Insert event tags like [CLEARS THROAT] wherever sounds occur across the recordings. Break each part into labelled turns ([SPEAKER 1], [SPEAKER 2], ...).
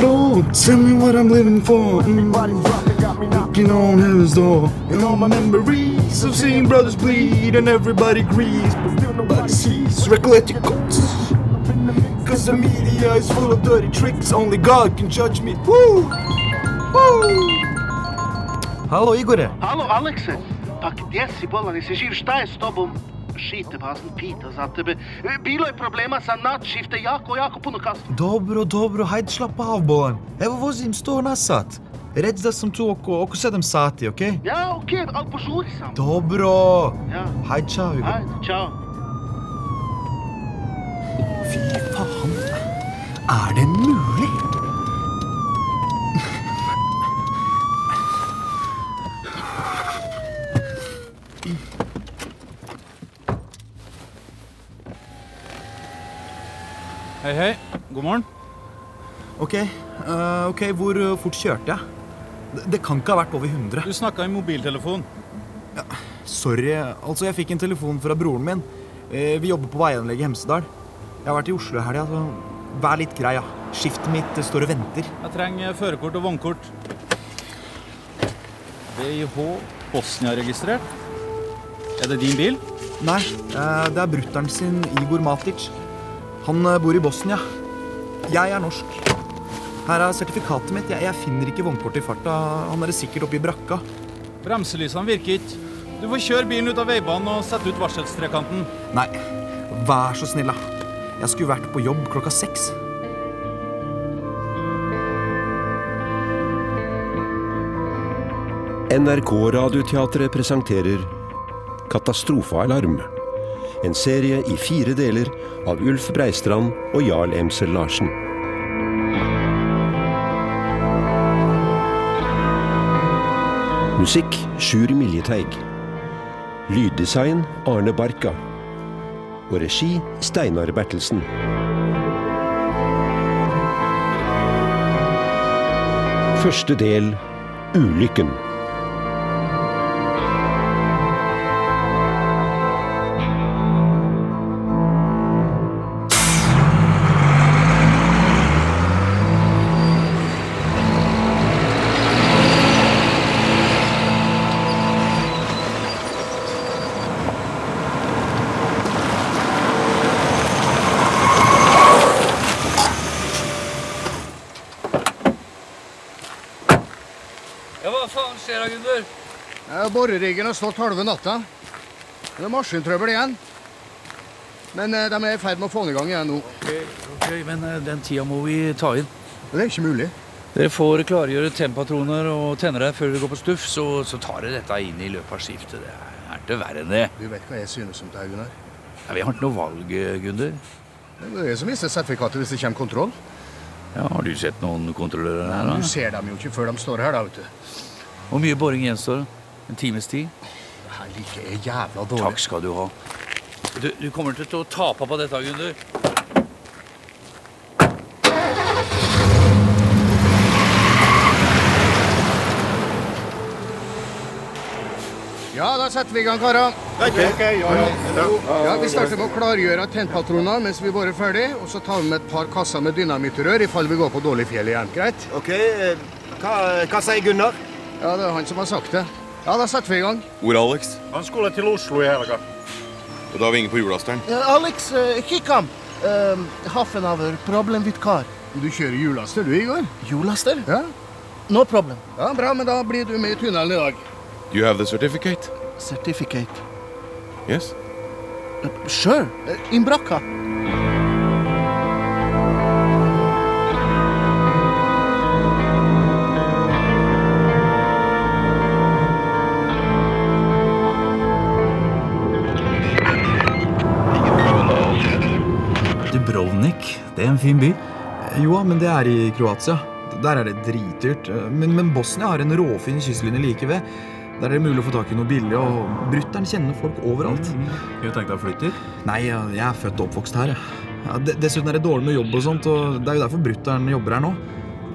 [SPEAKER 1] Tell me what I'm living for. Mm. Knocking on heaven's door. And all my memories of seeing brothers bleed. And everybody grieves. But still nobody sees. Recollect your coats. Cause the media is full of dirty tricks. Only God can judge me. Woo! Woo! uh, Halo Igore.
[SPEAKER 2] Halo, Alekse, pa gdje si bolan, jesi živ, šta je s tobom? Šite vas mi pita za tebe. E, Bilo je problema sa nadšifte, jako, jako puno kasno.
[SPEAKER 1] Dobro, dobro, hajde šlapa av, Bolan. Evo vozim 100 na sat. Reci da sam tu oko, oko 7 sati, okej?
[SPEAKER 2] Ja, okej, ali požuri
[SPEAKER 3] liksom.
[SPEAKER 2] sam.
[SPEAKER 1] Dobro.
[SPEAKER 2] Ja,
[SPEAKER 1] Hajde, čao, Igor.
[SPEAKER 2] ajde, čao.
[SPEAKER 3] Faen. Er det mulig?
[SPEAKER 4] Hei, hei. God morgen.
[SPEAKER 3] Ok, eh, ok, hvor eh, fort kjørte jeg? Det, det kan ikke ha vært over 100.
[SPEAKER 4] Du snakka i mobiltelefon.
[SPEAKER 3] Sorry. Altså, jeg fikk en telefon fra broren min. Eh, vi jobber på veianlegget i Hemsedal. Jeg har vært i Oslo i helga, så vær litt grei, ja. Skiftet mitt eh, står og venter.
[SPEAKER 4] Jeg trenger førerkort og vognkort. BIH Bosnia-registrert. Er det din bil?
[SPEAKER 3] Nei, eh, det er brutter'n sin, Igor Matic. Han eh, bor i Bosnia. Jeg er norsk. Her er sertifikatet mitt. Jeg, jeg finner ikke vognkortet i farta. Han er sikkert oppe i brakka.
[SPEAKER 4] Bremselysene virker ikke. Du får kjøre bilen ut av veibanen og sette ut varselstrekanten.
[SPEAKER 3] Nei, vær så snill, da. Jeg skulle vært på jobb klokka seks.
[SPEAKER 5] NRK Radioteatret presenterer Katastrofealarm. En serie i fire deler av Ulf Breistrand og Jarl Emsel Larsen. Musikk Sjur Miljeteig. Lyddesign Arne Barka. Og regi Steinar Bertelsen. Første del Ulykken.
[SPEAKER 6] Ja, hva faen skjer da, Gunnar?
[SPEAKER 7] Ja, Boreriggen har stått halve natta. Det er maskintrøbbel igjen. Men eh, de er i ferd med å få den i gang igjen nå.
[SPEAKER 6] Ok, men eh, den tida må vi ta inn.
[SPEAKER 7] Det er ikke mulig.
[SPEAKER 6] Dere får klargjøre tempatroner og tennere før dere går på stuff, så, så tar dere dette inn i løpet av skiftet. Det er ikke verre enn det.
[SPEAKER 7] Du vet hva jeg synes om det, her, Gunnar.
[SPEAKER 6] Ja, vi har ikke noe valg, eh, Gunder.
[SPEAKER 7] Det er jo jeg som mister sertifikatet hvis det kommer kontroll.
[SPEAKER 6] Ja, har du sett noen kontrollører her,
[SPEAKER 7] Du
[SPEAKER 6] da?
[SPEAKER 7] ser dem jo ikke før de står her, da, vet du.
[SPEAKER 6] Hvor mye boring gjenstår? En times tid?
[SPEAKER 7] Det her liker jeg jævla dårlig.
[SPEAKER 6] Takk skal du ha. Du, du kommer til å tape på dette, Gunder.
[SPEAKER 7] Ja, da setter vi i gang, karer. Ja, vi starter med å klargjøre tennpatroner mens vi borer ferdig. Og så tar vi med et par kasser med dynamittrør i fall vi går på dårlig fjell igjen. Greit?
[SPEAKER 8] Ok, eh, hva, hva sier Gunnar?
[SPEAKER 7] Ja, det er han som har sagt det. Ja, da setter vi i gang.
[SPEAKER 9] Hvor er Alex?
[SPEAKER 10] Han skulle til Oslo i helga.
[SPEAKER 9] Og da er vi inne på julasteren.
[SPEAKER 2] Eh, Alex, kikk ham. Eh, Hafenhaver, problem with car.
[SPEAKER 7] Du kjører hjullaster, du, Igor?
[SPEAKER 2] Julaster?
[SPEAKER 7] Ja?
[SPEAKER 2] No problem.
[SPEAKER 7] Ja, Bra, men da blir du med i tunnelen i dag.
[SPEAKER 9] Do you have the certificate?
[SPEAKER 2] Certificate.
[SPEAKER 9] Yes.
[SPEAKER 2] Sure,
[SPEAKER 7] Eh.
[SPEAKER 2] in brakka.
[SPEAKER 3] Dubrovnik, det er en fin by.
[SPEAKER 1] Jo, men det er i Kroatia. Der er det dritdyrt. Men, men Bosnia har en råfin kystlinje like ved. Der er det mulig å få tak i noe billig, og brutter'n kjenner folk overalt.
[SPEAKER 3] Kunne Mhm. tenkt deg å flytte hit.
[SPEAKER 1] Nei, ja, jeg er født og oppvokst her, jeg. Ja, de- dessuten er det dårlig med jobb og sånt, og det er jo derfor brutter'n jobber her nå.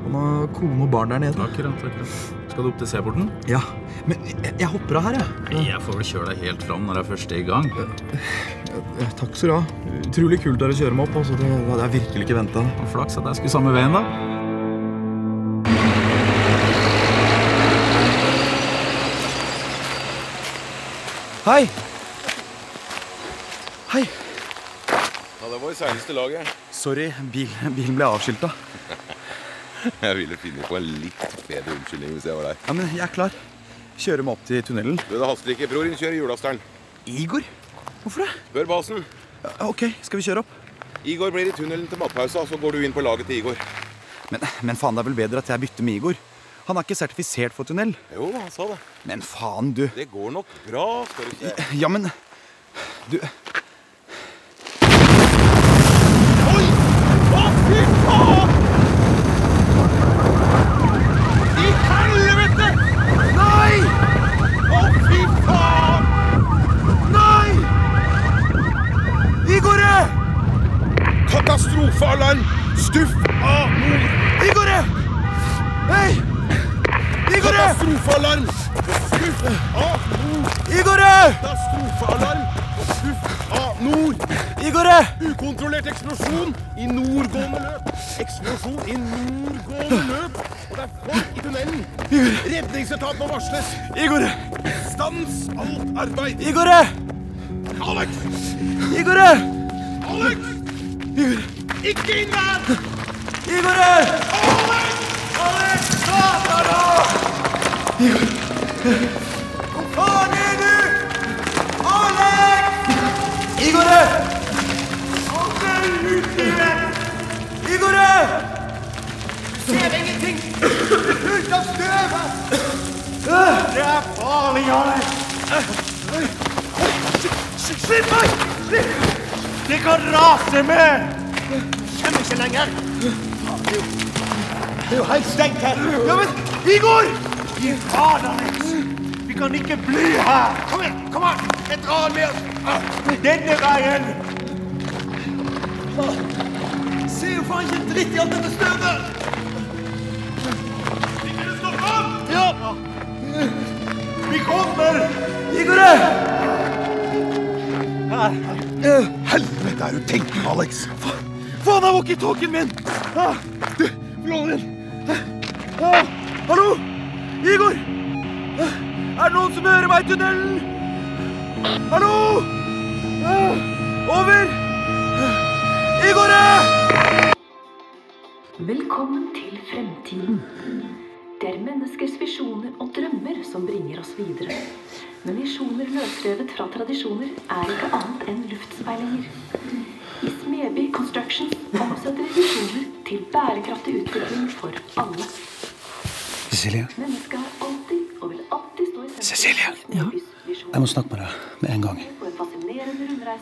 [SPEAKER 1] Han har kone og barn der nede.
[SPEAKER 3] Akkurat, akkurat. Skal du opp til C-porten?
[SPEAKER 1] Ja, men jeg, jeg hopper av her, jeg.
[SPEAKER 3] Nei, jeg får vel kjøre deg helt fram når jeg er først i gang.
[SPEAKER 1] Eh, Takk skal du ha. Utrolig kult av dere å kjøre meg opp. Altså. Det hadde jeg virkelig ikke venta.
[SPEAKER 3] Og flaks at jeg skulle samme veien, da. Hei! Hei.
[SPEAKER 9] Ja, det var i seneste laget.
[SPEAKER 3] Sorry, bil, bilen ble avskilta.
[SPEAKER 9] [LAUGHS] Jeg ville finne på en litt bedre unnskyldning hvis jeg var deg.
[SPEAKER 3] Ja, men jeg er klar. Kjører meg opp til tunnelen.
[SPEAKER 9] Du, det haster ikke. Bror din kjører julasteren.
[SPEAKER 3] Igor? Hvorfor det?
[SPEAKER 9] Spør basen.
[SPEAKER 3] Ja, Ok, skal vi kjøre opp?
[SPEAKER 9] Igor blir i tunnelen til matpausa, så går du inn på laget til Igor.
[SPEAKER 3] Men, men faen, det er vel bedre at jeg bytter med Igor. Han er ikke sertifisert for tunnel.
[SPEAKER 9] Jo, han sa det.
[SPEAKER 3] Men faen, du.
[SPEAKER 9] Det går nok bra, skal du ikke.
[SPEAKER 3] Ja, men Du
[SPEAKER 9] Katastrofealarm! Stuff av mor!
[SPEAKER 3] Igore! Hei! Igore!
[SPEAKER 9] Katastrofealarm! Stuff av nord!
[SPEAKER 3] Igore!
[SPEAKER 9] Katastrofealarm! Stuff av nord!
[SPEAKER 3] Igore!
[SPEAKER 9] Ukontrollert eksplosjon i nordgående løp! Eksplosjon i nordgående løp! Og det er folk i tunnelen! Redningsetaten må varsles!
[SPEAKER 3] Igore!
[SPEAKER 9] Stans alt arbeid!
[SPEAKER 3] Igore!
[SPEAKER 9] Alex!
[SPEAKER 3] Igore!
[SPEAKER 9] Alex! Ikke inn der!
[SPEAKER 3] Igore! Igore! Igore! Ah, Ah, Ah,
[SPEAKER 1] Velkommen til fremtiden. Det er menneskers visjoner og drømmer som bringer oss videre. Men visjoner løsrevet fra tradisjoner er ikke annet enn luftspeilinger. I Smeby Construction omsetter vi visjoner til bærekraftig utvikling for alle.
[SPEAKER 11] Cecilie,
[SPEAKER 1] Mennesket har alltid og vil alltid stå i sentrum.
[SPEAKER 11] Cecilie.
[SPEAKER 1] Ja.
[SPEAKER 11] jeg må snakke med deg med en gang.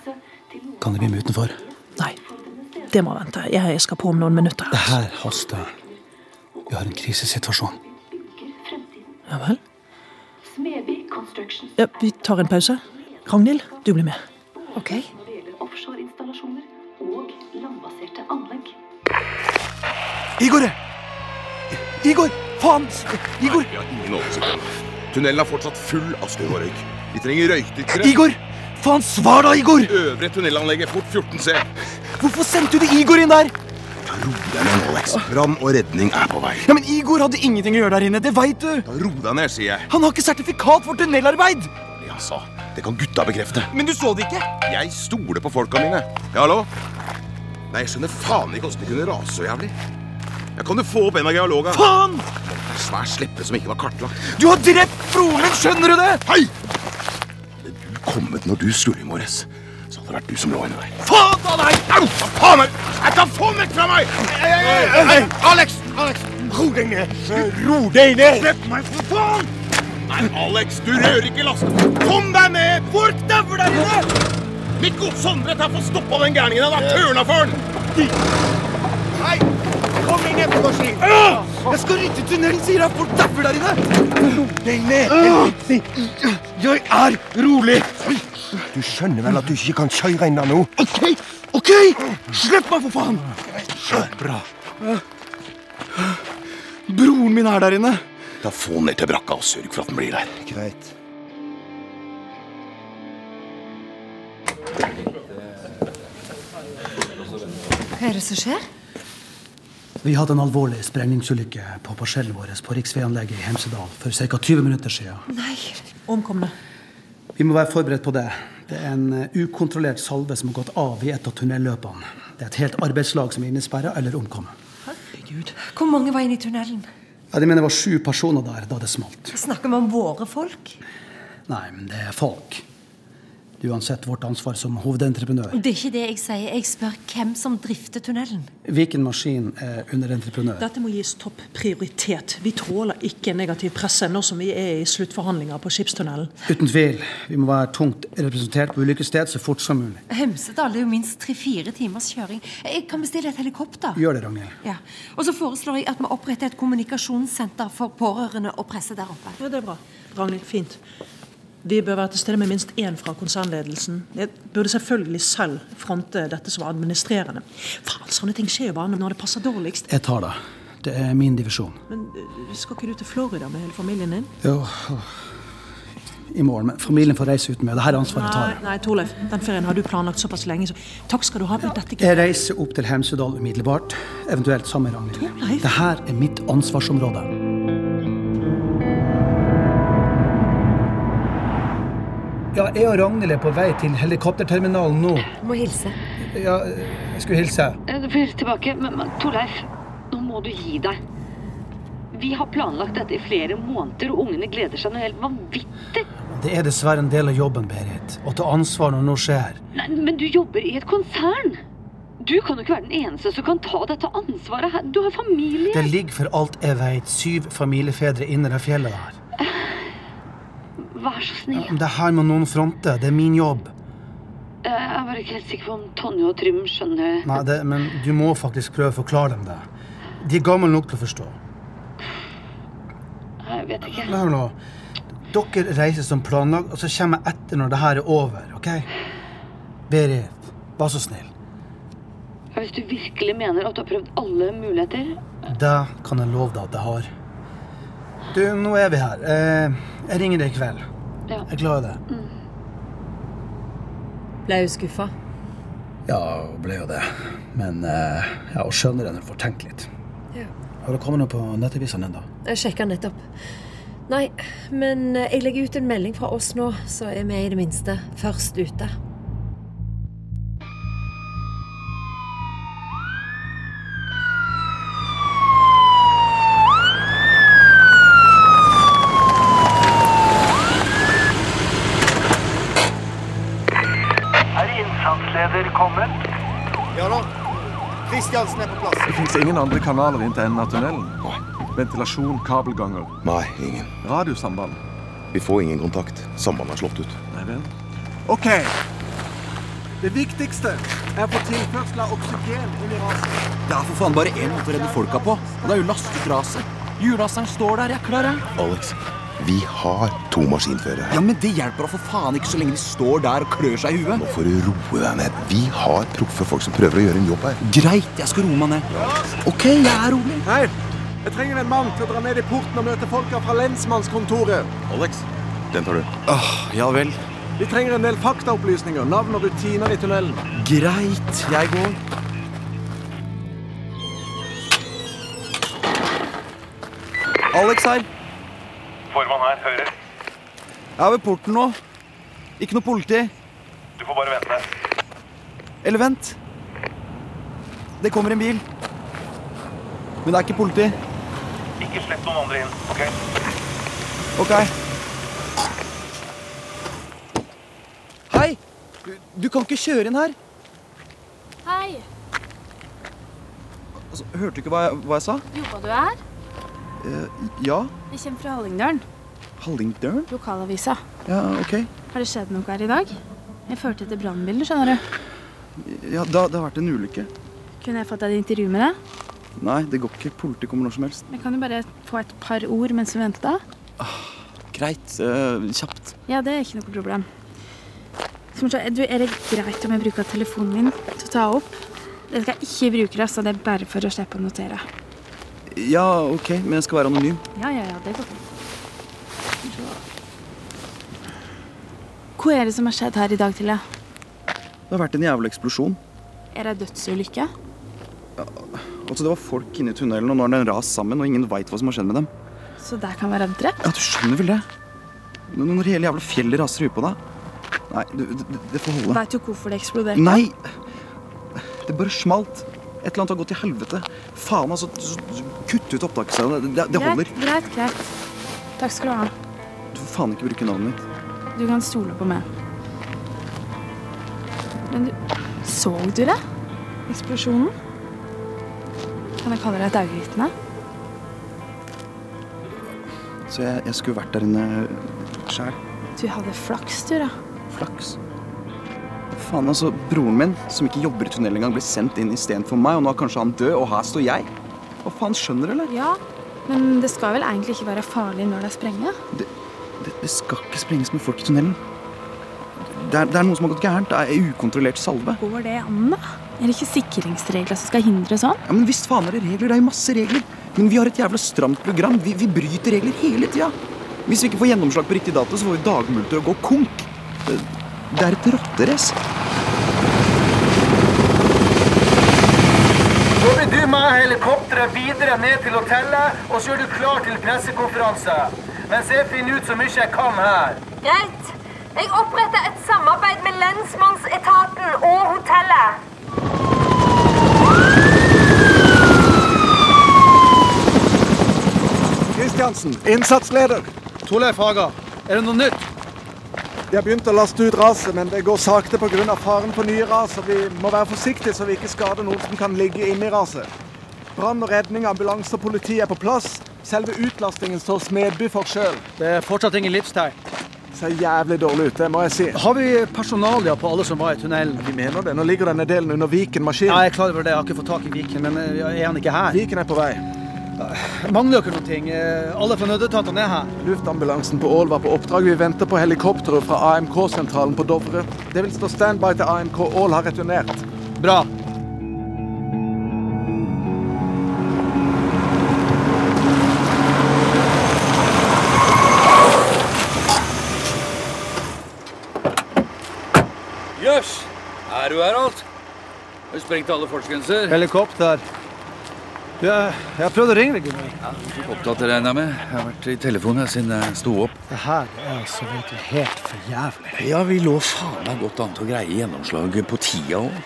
[SPEAKER 11] Kan det bli med utenfor?
[SPEAKER 12] Nei, det må vente. Jeg skal på om noen minutter.
[SPEAKER 11] Det her haster. Vi har en krisesituasjon.
[SPEAKER 12] Ja vel?
[SPEAKER 1] Smeby Construction
[SPEAKER 12] Ja, vi tar en pause. Ragnhild, du blir med.
[SPEAKER 1] Ok. Når det gjelder offshoreinstallasjoner og landbaserte anlegg.
[SPEAKER 3] Igore! Igor! Faen! Igor!
[SPEAKER 9] Vi har ingen oversikt. Tunnelen er fortsatt full av støv og røyk. Vi trenger røykdykkere.
[SPEAKER 3] Igor! Faen, svar da, Igor!
[SPEAKER 9] Øvre tunnelanlegget, fort 14C.
[SPEAKER 3] Hvorfor sendte du Igor inn der?
[SPEAKER 9] Ro deg ned nå, Alex. Brann og redning er på vei.
[SPEAKER 3] Ja, men Igor hadde ingenting å gjøre der inne, det veit du!
[SPEAKER 9] Ro deg ned, sier jeg.
[SPEAKER 3] Han har ikke sertifikat for tunnelarbeid!
[SPEAKER 9] Jeg sa, det kan gutta bekrefte.
[SPEAKER 3] Men du så det ikke?
[SPEAKER 9] Jeg stoler på folka mine. Ja, hallo? Nei, jeg skjønner faen ikke åssen de kunne rase så jævlig. Ja, kan du få opp en av geologa?
[SPEAKER 3] Faen!
[SPEAKER 9] En svær sleppe som ikke var kartlagt.
[SPEAKER 3] Du har drept broren min, skjønner du det?
[SPEAKER 9] Hei! Hadde du kommet når du skulle i morges, så hadde det vært du som lå inne der.
[SPEAKER 3] Faen ta deg!
[SPEAKER 9] Au! Hva faen er Jeg tar faen vekk fra meg! Ei, ei, ei, ei, ei, Alex! Alex! Ro deg ned! Ro deg ned! Slipp meg, for faen! Nei, Alex, du rører ikke lasten. Kom deg ned! Folk dauer der inne! Nico, Sondre, ta få stoppa den gærningen. Han har tørna for den! Hei! Kom inn etter meg, Ski.
[SPEAKER 3] Jeg skal rydde tunnelen, sier jeg! Folk dauer der inne!
[SPEAKER 11] Jeg er rolig! Du skjønner vel at du ikke kan kjøre inn der nå? OK! OK! Slipp meg, for faen!
[SPEAKER 3] Bra. Broren min er der inne.
[SPEAKER 9] Da Få den ned til brakka og sørg for at den blir der.
[SPEAKER 11] Greit.
[SPEAKER 1] Hva er det som skjer?
[SPEAKER 11] Vi hadde en alvorlig sprengningsulykke på parsellen vår på riksveianlegget i Hemsedal for ca. 20 minutter siden.
[SPEAKER 12] Omkomne.
[SPEAKER 11] Vi må være forberedt på det. Det er en eh, ukontrollert salve som har gått av i et av tunnelløpene. Det er et helt arbeidslag som er innesperra eller omkommet.
[SPEAKER 13] Hvor mange var inne i tunnelen?
[SPEAKER 11] Ja, de mener det var sju personer der da det smalt.
[SPEAKER 13] Snakker vi om våre folk?
[SPEAKER 11] Nei, men det er folk. Det er uansett vårt ansvar som hovedentreprenør.
[SPEAKER 13] Det er ikke det jeg sier. Jeg spør hvem som drifter tunnelen.
[SPEAKER 11] Viken Maskin er underentreprenør.
[SPEAKER 12] Dette må gis topp prioritet. Vi tåler ikke negativ presse nå som vi er i sluttforhandlinger på skipstunnelen.
[SPEAKER 11] Uten tvil. Vi må være tungt representert på ulike sted så fort som mulig.
[SPEAKER 13] Hemsedal er jo minst tre-fire timers kjøring. Jeg kan bestille et helikopter.
[SPEAKER 11] Gjør det, Ragnhild.
[SPEAKER 13] Ja. Og så foreslår jeg at vi oppretter et kommunikasjonssenter for pårørende og presse der oppe.
[SPEAKER 12] Ja, det er bra. Ragnhild, fint. Vi bør være til stede med minst én fra konsernledelsen. Jeg burde selvfølgelig selv fronte dette som administrerende. Faen, sånne ting skjer jo bare når det passer dårligst.
[SPEAKER 11] Jeg tar det. Det er min divisjon.
[SPEAKER 12] Men øh, skal ikke du til Florida med hele familien din?
[SPEAKER 11] Jo, i morgen. Men familien får reise uten meg. Dette ansvaret tar jeg.
[SPEAKER 12] Nei, nei, Torleif. Den ferien har du planlagt såpass lenge, så takk skal du ha. Men dette
[SPEAKER 11] Jeg reiser opp til Hemsedal umiddelbart, eventuelt sammen med Ragnhild. Det her er mitt ansvarsområde. Ja, jeg og Ragnhild er på vei til helikopterterminalen nå.
[SPEAKER 14] Må hilse.
[SPEAKER 11] Ja, jeg skulle hilse.
[SPEAKER 14] Eh, Du får hilse tilbake. Men, men Torleif, nå må du gi deg. Vi har planlagt dette i flere måneder, og ungene gleder seg noe helt vanvittig.
[SPEAKER 11] Det er dessverre en del av jobben, Berit, å ta ansvar når noe skjer.
[SPEAKER 14] Nei, men du jobber i et konsern. Du kan jo ikke være den eneste som kan ta dette ansvaret her. Du har familie.
[SPEAKER 11] Det ligger for alt jeg vet syv familiefedre inne i det fjellet der.
[SPEAKER 14] Vær så snill.
[SPEAKER 11] Det her må noen fronte. Det er min jobb.
[SPEAKER 14] Eh, Jeg var ikke helt sikker på om Tonje og Trym skjønner
[SPEAKER 11] Nei, det, men du må faktisk prøve å forklare dem det. De er gamle nok til å forstå.
[SPEAKER 14] Jeg vet ikke.
[SPEAKER 11] Hør nå. Dere reiser som planlagt, og så kommer jeg etter når det her er over. ok? Berit, vær så snill.
[SPEAKER 14] Hvis du virkelig mener at du har prøvd alle muligheter
[SPEAKER 11] Det kan jeg love deg at jeg har. Du, nå er vi her. Eh, Jeg ringer deg i kveld.
[SPEAKER 14] Ja.
[SPEAKER 11] Jeg er glad i deg.
[SPEAKER 14] Ble hun skuffa?
[SPEAKER 11] Ja, hun ble jo det. Men eh, ja, hun skjønner det når hun får tenkt litt.
[SPEAKER 14] Ja.
[SPEAKER 11] Har du kommet noe på nettavisene ennå?
[SPEAKER 14] Jeg sjekka nettopp. Nei, men eh, jeg legger ut en melding fra oss nå, så er vi i det minste først ute.
[SPEAKER 7] Er innsatsleder kommet?
[SPEAKER 15] Ja da. Kristiansen er på plass.
[SPEAKER 16] Det fins ingen andre kanaler inn til enden av tunnelen. Ventilasjon, kabelganger,
[SPEAKER 9] Nei, ingen.
[SPEAKER 16] radiosamband.
[SPEAKER 9] Vi får ingen kontakt. Sambandet er slått ut.
[SPEAKER 16] Nei vel. OK. Det viktigste er å få tilførsel av oksygen inn i raset.
[SPEAKER 3] Det er for faen bare én måte å redde folka på. Og det er jo lastetraset. Hjullaseren står der, jeg er klar, jeg.
[SPEAKER 9] Alex, vi har to maskinførere her.
[SPEAKER 3] Ja, men det hjelper da for faen ikke så lenge de står der og klør seg i huet.
[SPEAKER 9] Nå får du roe deg ned. Vi har proffe folk som prøver å gjøre en jobb her.
[SPEAKER 3] Greit, jeg skal roe meg ned. OK, jeg er rolig.
[SPEAKER 16] Hei, jeg trenger en mann til å dra ned i porten og møte folka fra lensmannskontoret.
[SPEAKER 9] Alex, den tar du.
[SPEAKER 3] Åh,
[SPEAKER 17] Ah,
[SPEAKER 3] ja vel.
[SPEAKER 16] Vi trenger en del faktaopplysninger, navn og rutiner i tunnelen.
[SPEAKER 3] Greit, jeg går. Alex her.
[SPEAKER 18] Formann her, hører.
[SPEAKER 3] Jeg er ved porten nå. Ikke noe politi.
[SPEAKER 18] Du får bare vente.
[SPEAKER 3] Eller vent. Det kommer en bil. Men det er ikke politi.
[SPEAKER 18] Ikke slipp noen andre inn, OK?
[SPEAKER 3] Ok. Hei! Du, du kan ikke kjøre inn her.
[SPEAKER 19] Hei,
[SPEAKER 3] Altså, hørte du ikke hva jeg, hva jeg sa?
[SPEAKER 19] jobber du her?
[SPEAKER 3] Eh, ja.
[SPEAKER 19] Jeg kommer fra Hallingdølen,
[SPEAKER 3] Hallingdølen?
[SPEAKER 19] lokalavisa.
[SPEAKER 3] Ja, ok.
[SPEAKER 19] Har det skjedd noe her i dag? Jeg førte etter brannbilen, skjønner du.
[SPEAKER 3] Ja, da, det har vært en ulykke.
[SPEAKER 19] Kunne jeg fått et intervju med deg?
[SPEAKER 3] Nei, det går ikke. Politiet kommer når som helst.
[SPEAKER 19] Jeg kan jo bare få et par ord mens vi venter da.
[SPEAKER 3] Greit. eh, kjapt.
[SPEAKER 19] Ja, det er ikke noe problem. Skal vi se, Du, er det greit om jeg bruker telefonen din til å ta opp? Det skal jeg ikke bruke, altså. Det er bare for å slippe å notere.
[SPEAKER 3] Ja, ok, men jeg skal være anonym.
[SPEAKER 19] Ja, ja, ja, det går fint. Skal vi se. Hva er det som har skjedd her i dag, Tilde?
[SPEAKER 3] Det har vært en jævla eksplosjon.
[SPEAKER 19] Er det en dødsulykke?
[SPEAKER 3] Altså, Det var folk inne i tunnelen, og nå er det en ras sammen, og ingen veit hva som har skjedd med dem.
[SPEAKER 19] Så der kan være drept?
[SPEAKER 3] Ja, Du skjønner vel det? N- Når hele jævla fjellet raser i huet på deg. Nei, du, det, det får holde.
[SPEAKER 19] Veit du hvorfor det eksploderte?
[SPEAKER 3] Nei! Det bare smalt. Et eller annet har gått til helvete. Faen, altså. så- så- Kutt ut opptaket. Det, det, det holder.
[SPEAKER 19] Greit, greit, greit. Takk skal du ha.
[SPEAKER 3] Du får faen ikke bruke navnet mitt.
[SPEAKER 19] Du kan stole på meg. Men du Så du det? Eksplosjonen? Kan jeg kalle deg et øyevitne?
[SPEAKER 3] Så jeg, jeg skulle vært der inne sjæl.
[SPEAKER 19] Du hadde flaks, du, da.
[SPEAKER 3] Flaks. Faen, altså. Broren min, som ikke jobber i tunnel engang, ble sendt inn istedenfor meg, og nå er kanskje han død, og her står jeg. Hva faen, skjønner du, eller?
[SPEAKER 19] Ja, men det skal vel egentlig ikke være farlig når det er sprenge?
[SPEAKER 3] Det, det skal ikke sprenges med folk i tunnelen. Det er, det er noe som har gått gærent. Det er ukontrollert salve.
[SPEAKER 19] Går det an, da? Er det ikke sikringsregler som skal hindre sånn?
[SPEAKER 3] Ja, men visst faen er det regler. Det er jo masse regler. Men vi har et jævla stramt program. Vi, vi bryter regler hele tida. Hvis vi ikke får gjennomslag på riktig dato, så får vi dagmulter og gå konk. Det, det er et rotterace.
[SPEAKER 11] Så blir du med helikopteret videre ned til hotellet, og så er du klar til pressekonferanse. Mens jeg finner ut så mye jeg kan her.
[SPEAKER 20] Greit. Jeg oppretter et samarbeid med lensmannsetaten og hotellet.
[SPEAKER 16] Kristiansen, innsatsleder.
[SPEAKER 21] Torleif Haga, er det noe nytt?
[SPEAKER 16] De har begynt å laste ut raset, men det går sakte pga. faren for nye ras. og Vi må være forsiktige så vi ikke skader noen som kan ligge inne i raset. Brann og redning, ambulanse og politi er på plass. Selve utlastingen står Smedby for sjøl.
[SPEAKER 11] Det er fortsatt ingen livstegn.
[SPEAKER 16] Ser jævlig dårlig ut, det må jeg si.
[SPEAKER 11] Har vi personalia på alle som var i tunnelen?
[SPEAKER 16] Vi mener det. Nå ligger denne delen under Viken maskin.
[SPEAKER 11] Ja, jeg er klar over det. Jeg har ikke fått tak i Viken, men eh, er han ikke her?
[SPEAKER 16] Viken er på vei.
[SPEAKER 11] Mangler dere noen ting? Eh, Alle fra nødetatene er her.
[SPEAKER 16] Luftambulansen på Ål var på oppdrag. Vi venter på helikopteret fra AMK-sentralen på Dovre. Det vil stå standby til AMK Ål har returnert.
[SPEAKER 21] Bra.
[SPEAKER 6] Jøss! Er du her, alt? Har du sprengt alle fartsgrenser?
[SPEAKER 11] Helikopter. Du, jeg jeg har prøvd å ringe deg, Gunnar.
[SPEAKER 6] Opptatt, regner jeg med. Jeg har vært i telefonen jeg, siden jeg sto opp.
[SPEAKER 11] Det her er altså virkelig helt for jævlig.
[SPEAKER 6] Ja, vi lå faen meg godt an til å greie gjennomslaget på tida òg.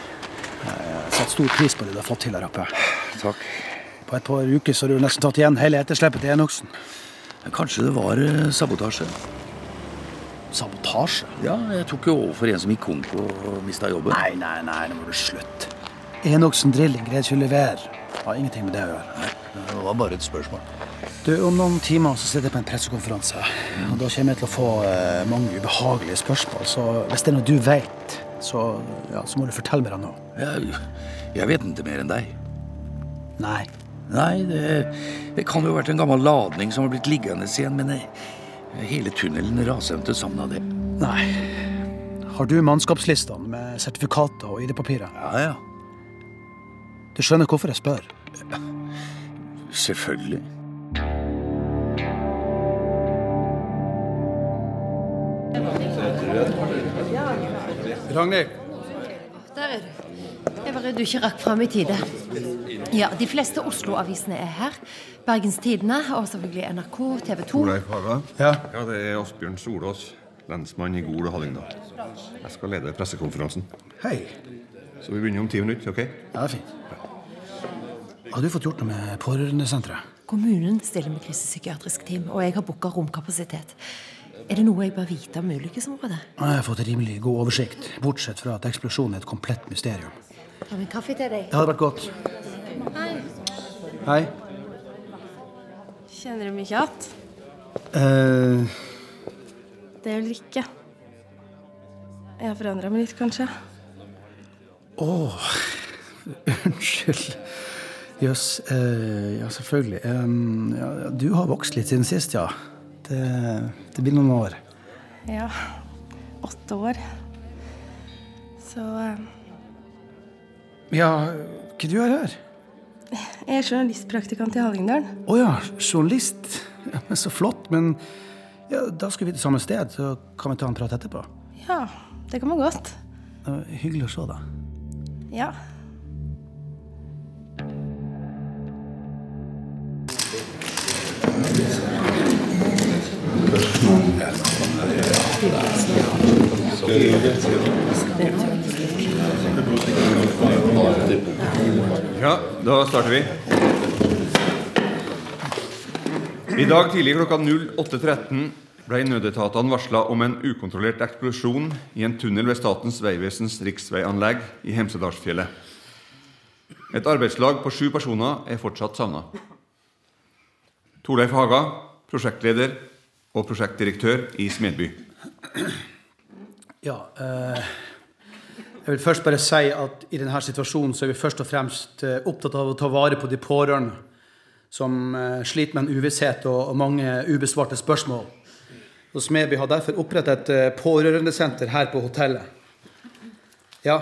[SPEAKER 11] Jeg setter stor pris på det du har fått til her oppe.
[SPEAKER 6] Takk.
[SPEAKER 11] På et par uker så har du nesten tatt igjen hele etterslepet til Enoksen.
[SPEAKER 6] Kanskje det var eh, sabotasje.
[SPEAKER 11] Sabotasje?
[SPEAKER 6] Ja, jeg tok jo over for en som gikk konk og mista jobben.
[SPEAKER 11] Nei, nei, nei, nå må du slutte. Enoksen Drilling greide ikke å levere. Har ingenting med det å gjøre.
[SPEAKER 6] Det var bare et spørsmål.
[SPEAKER 11] Du, Om noen timer så sitter jeg på en pressekonferanse. og Da kommer jeg til å få eh, mange ubehagelige spørsmål. Så hvis det er noe du vet, så, ja, så må du fortelle meg det nå.
[SPEAKER 6] Jeg, jeg vet ikke mer enn deg.
[SPEAKER 11] Nei.
[SPEAKER 6] Nei, det, det kan jo ha vært en gammel ladning som har blitt liggende igjen, men eh, hele tunnelen rasendte sammen av det.
[SPEAKER 11] Nei. Har du mannskapslistene med sertifikater og ID-papirer?
[SPEAKER 6] Ja, ja.
[SPEAKER 11] Du skjønner hvorfor jeg spør?
[SPEAKER 6] Selvfølgelig.
[SPEAKER 21] Ragnhild.
[SPEAKER 22] Der er du. Jeg var redd du ikke rakk fram i tide. Ja, De fleste Oslo-avisene er her. Bergens Tidende og selvfølgelig NRK, TV 2.
[SPEAKER 23] Torleif Haga?
[SPEAKER 21] Ja.
[SPEAKER 23] Det er Asbjørn Solås, lensmann i Gol og Hallingdal. Jeg skal lede pressekonferansen.
[SPEAKER 11] Hei.
[SPEAKER 23] Så vi begynner om ti minutter, OK?
[SPEAKER 11] Ja, det er fint. Har du fått gjort noe med pårørendesenteret?
[SPEAKER 22] Kommunen stiller med krisepsykiatrisk team, og jeg har booka romkapasitet. Er det noe jeg bør vite om ulykkesområdet?
[SPEAKER 11] Jeg har fått rimelig god oversikt, bortsett fra at eksplosjonen er et komplett mysterium.
[SPEAKER 22] Har vi en kaffe til deg?
[SPEAKER 11] Det hadde vært godt.
[SPEAKER 22] Hei.
[SPEAKER 11] Hei.
[SPEAKER 22] Kjenner du meg ikke igjen?
[SPEAKER 11] Eh,
[SPEAKER 22] Det er Ulrikke. Jeg har forandra meg litt, kanskje.
[SPEAKER 11] Å, unnskyld. Jøss. eh, ja, selvfølgelig. Em, ja, ja, du har vokst litt siden sist, ja. Det, det blir noen år.
[SPEAKER 22] Ja. Åtte år. Så eh,
[SPEAKER 11] Ja, hva du gjør her?
[SPEAKER 22] Jeg er journalistpraktikant i Hallingdal.
[SPEAKER 11] Å ja, journalist. Ja, men så flott. Men ja, da skal vi til samme sted, så kan vi ta en prat etterpå.
[SPEAKER 22] Ja, det kan man godt.
[SPEAKER 11] Eh, hyggelig å se deg.
[SPEAKER 22] Ja.
[SPEAKER 23] Ja, da starter vi. I dag tidlig klokka 08.13 ble nødetatene varsla om en ukontrollert eksplosjon i en tunnel ved Statens vegvesens riksveianlegg i Hemsedalsfjellet. Et arbeidslag på sju personer er fortsatt savna. Torleif Haga, prosjektleder og prosjektdirektør i Smedby.
[SPEAKER 11] Ja, eh, jeg vil først bare si at i denne situasjonen så er vi først og fremst eh, opptatt av å ta vare på de pårørende som eh, sliter med en uvisshet og, og mange ubesvarte spørsmål. Og Smeby har derfor opprettet et eh, pårørendesenter her på hotellet. Ja,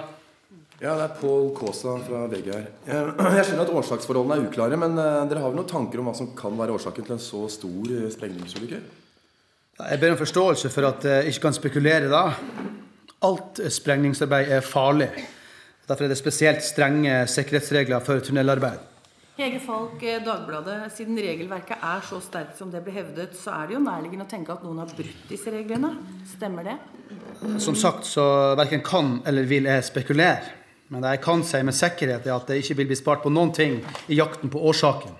[SPEAKER 17] Ja, det er Pål Kaasa fra VG her. Eh, [CLEARS THROAT] Jeg skjønner at årsaksforholdene er uklare, men eh, dere har vel noen tanker om hva som kan være årsaken til en så stor eh, sprengningsulykke? [CLEARS THROAT]
[SPEAKER 11] jeg ber om forståelse for at jeg ikke kan spekulere da. Alt sprengningsarbeid er farlig. Derfor er det spesielt strenge sikkerhetsregler for tunnelarbeid.
[SPEAKER 24] Hege Falk, eh, Dagbladet. Siden regelverket er så sterkt som det ble hevdet, så er det jo nærliggende å tenke at noen har brutt disse reglene. Stemmer det?
[SPEAKER 11] Som sagt så verken kan eller vil jeg spekulere. Men det jeg kan si med sikkerhet, er at det ikke vil bli spart på noen ting i jakten på årsaken.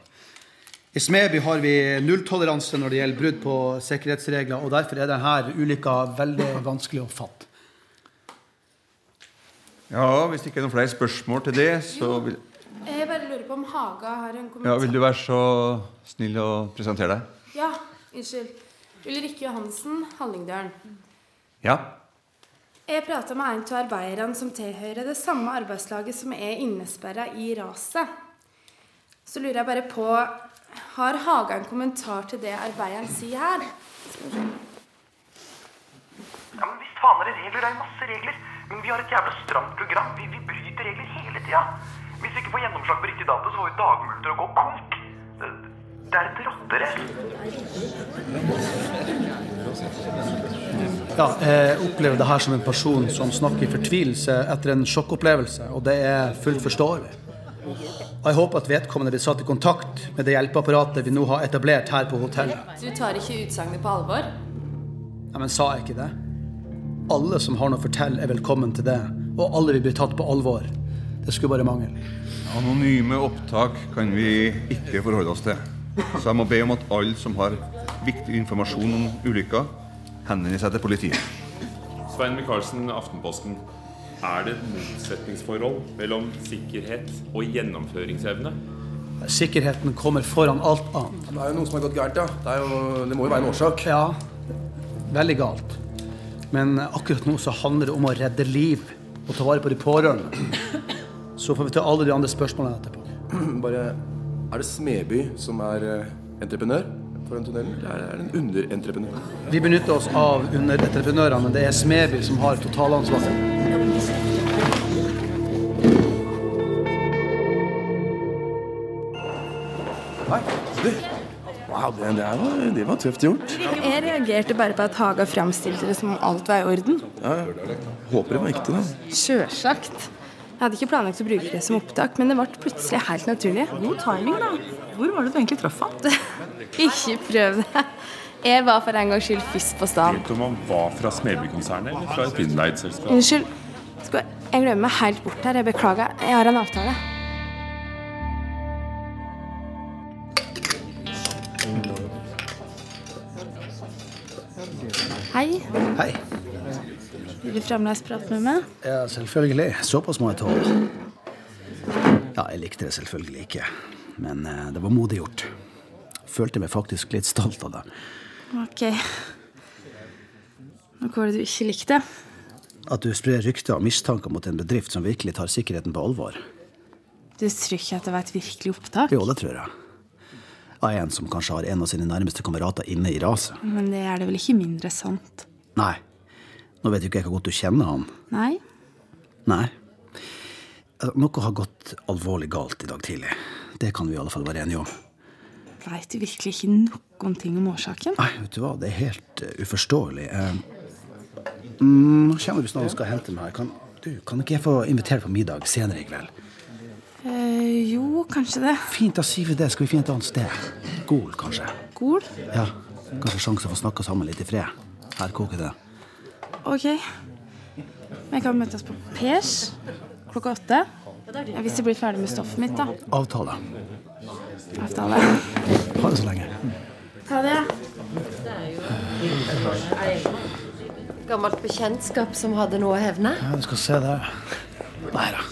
[SPEAKER 11] I Smeby har vi nulltoleranse når det gjelder brudd på sikkerhetsregler, og derfor er denne ulykka veldig vanskelig å fatte.
[SPEAKER 23] Ja, hvis det ikke er noen flere spørsmål til det, så vil,
[SPEAKER 19] Jeg bare lurer på om Haga har en kommentar.
[SPEAKER 23] ja, vil du være så snill å presentere deg?
[SPEAKER 19] Ja, unnskyld. Ulrikke Johansen, Hallingdølen.
[SPEAKER 23] Ja.
[SPEAKER 19] Jeg prata med en av arbeiderne som tilhører det samme arbeidslaget som er innesperra i raset. Så lurer jeg bare på Har Haga en kommentar til det arbeideren sier her? Skal vi se.
[SPEAKER 18] Visst faen er det regler, det er masse regler. Men vi har et jævla stramt program. Vi, vi bryter regler hele tida. Hvis vi ikke får gjennomslag på riktig dato, så får vi dagmulter og gå konk. Det er et rottere.
[SPEAKER 11] Ja, jeg opplever det her som en person som snakker i fortvilelse etter en sjokkopplevelse, og det er fullt forståelig. Og jeg håper at vedkommende blir satt i kontakt med det hjelpeapparatet vi nå har etablert her på hotellet.
[SPEAKER 25] Du tar ikke utsagnet på alvor?
[SPEAKER 11] Nei, men sa jeg ikke det? Alle som har noe å fortelle, er velkommen til det. Og alle vil bli tatt på alvor. Det skulle bare mangle.
[SPEAKER 23] Anonyme opptak kan vi ikke forholde oss til. Så jeg må be om at alle som har viktig informasjon om ulykka, henvender seg til politiet.
[SPEAKER 26] Svein Michaelsen, Aftenposten. Er det et motsetningsforhold mellom sikkerhet og gjennomføringsevne?
[SPEAKER 11] Sikkerheten kommer foran alt annet.
[SPEAKER 17] Det er jo noe som har gått gærent, ja. Det, er jo, det må jo være en årsak.
[SPEAKER 11] Ja, veldig galt. Men akkurat nå så handler det om å redde liv og ta vare på de pårørende. Så får vi ta alle de andre spørsmålene etterpå.
[SPEAKER 17] Bare, er det Smeby som er eh, entreprenør for den tunnelen? Eller er det- er det en underentreprenør?
[SPEAKER 11] Vi benytter oss av underentreprenørene, men det er Smeby som har totalansvaret.
[SPEAKER 17] Nei, du. Wow, det, det, er jo- det var tøft gjort.
[SPEAKER 19] Jeg reagerte bare på at Haga framstilte det som om alt var i orden.
[SPEAKER 17] Ja, jeg håper det var ekte, da.
[SPEAKER 19] Sjølsagt. Jeg hadde ikke planlagt å bruke det som opptak, men det ble plutselig helt naturlig. God timing, da. Hvor var det du egentlig traff han? [LAUGHS] ikke prøv det. Jeg var for en gangs skyld først på staden.
[SPEAKER 26] Vet du om han var fra Smeby-konsernet eller fra et innleid selskap?
[SPEAKER 19] Unnskyld. Skal jeg- jeg glemmer meg helt bort her. Jeg beklager. Jeg har en avtale. Hei.
[SPEAKER 11] Hei.
[SPEAKER 19] Vil du fremdeles prate med meg?
[SPEAKER 11] Ja, selvfølgelig. Såpass må jeg tåle. Ja, jeg likte det selvfølgelig ikke. Men eh, det var modig gjort. Følte meg faktisk litt stolt av det.
[SPEAKER 19] Ok. Nå var det du ikke likte?
[SPEAKER 11] At du sprer rykter og mistanker mot en bedrift som virkelig tar sikkerheten på alvor.
[SPEAKER 19] Du tror ikke at det var et virkelig opptak?
[SPEAKER 11] [LAUGHS] Jo, det tror jeg. Av en som kanskje har en av sine nærmeste kamerater inne i raset.
[SPEAKER 19] Men det er det vel ikke mindre sant?
[SPEAKER 11] Nei. Nå vet jo ikke jeg hvor godt du kjenner han.
[SPEAKER 19] Nei?
[SPEAKER 11] Nei. Altså, Noe har gått alvorlig galt i dag tidlig. Det kan vi i alle fall være enige om.
[SPEAKER 19] Veit du virkelig ikke noen ting om årsaken?
[SPEAKER 11] Nei, vet du hva, det er helt eh, uforståelig. Eh, mm, Nå kommer du snart og skal hente meg. Kan, du, kan ikke jeg få invitere på middag senere i kveld?
[SPEAKER 19] Eh, jo, kanskje det.
[SPEAKER 11] Fint, da sier vi det. Skal vi finne et annet sted? Gol, kanskje.
[SPEAKER 19] Gol?
[SPEAKER 11] Ja, Kanskje sjanse for å snakke sammen litt i fred. Her koker det.
[SPEAKER 19] Ok. Vi kan møtes på Pers klokka åtte. Ja, Hvis jeg blir ferdig med stoffet mitt, da.
[SPEAKER 15] Avtale.
[SPEAKER 19] Avtale.
[SPEAKER 15] Ha det så lenge.
[SPEAKER 19] Ha det.
[SPEAKER 22] Gammelt bekjentskap som hadde noe å hevne.
[SPEAKER 15] Ja, du skal se der. Nei da.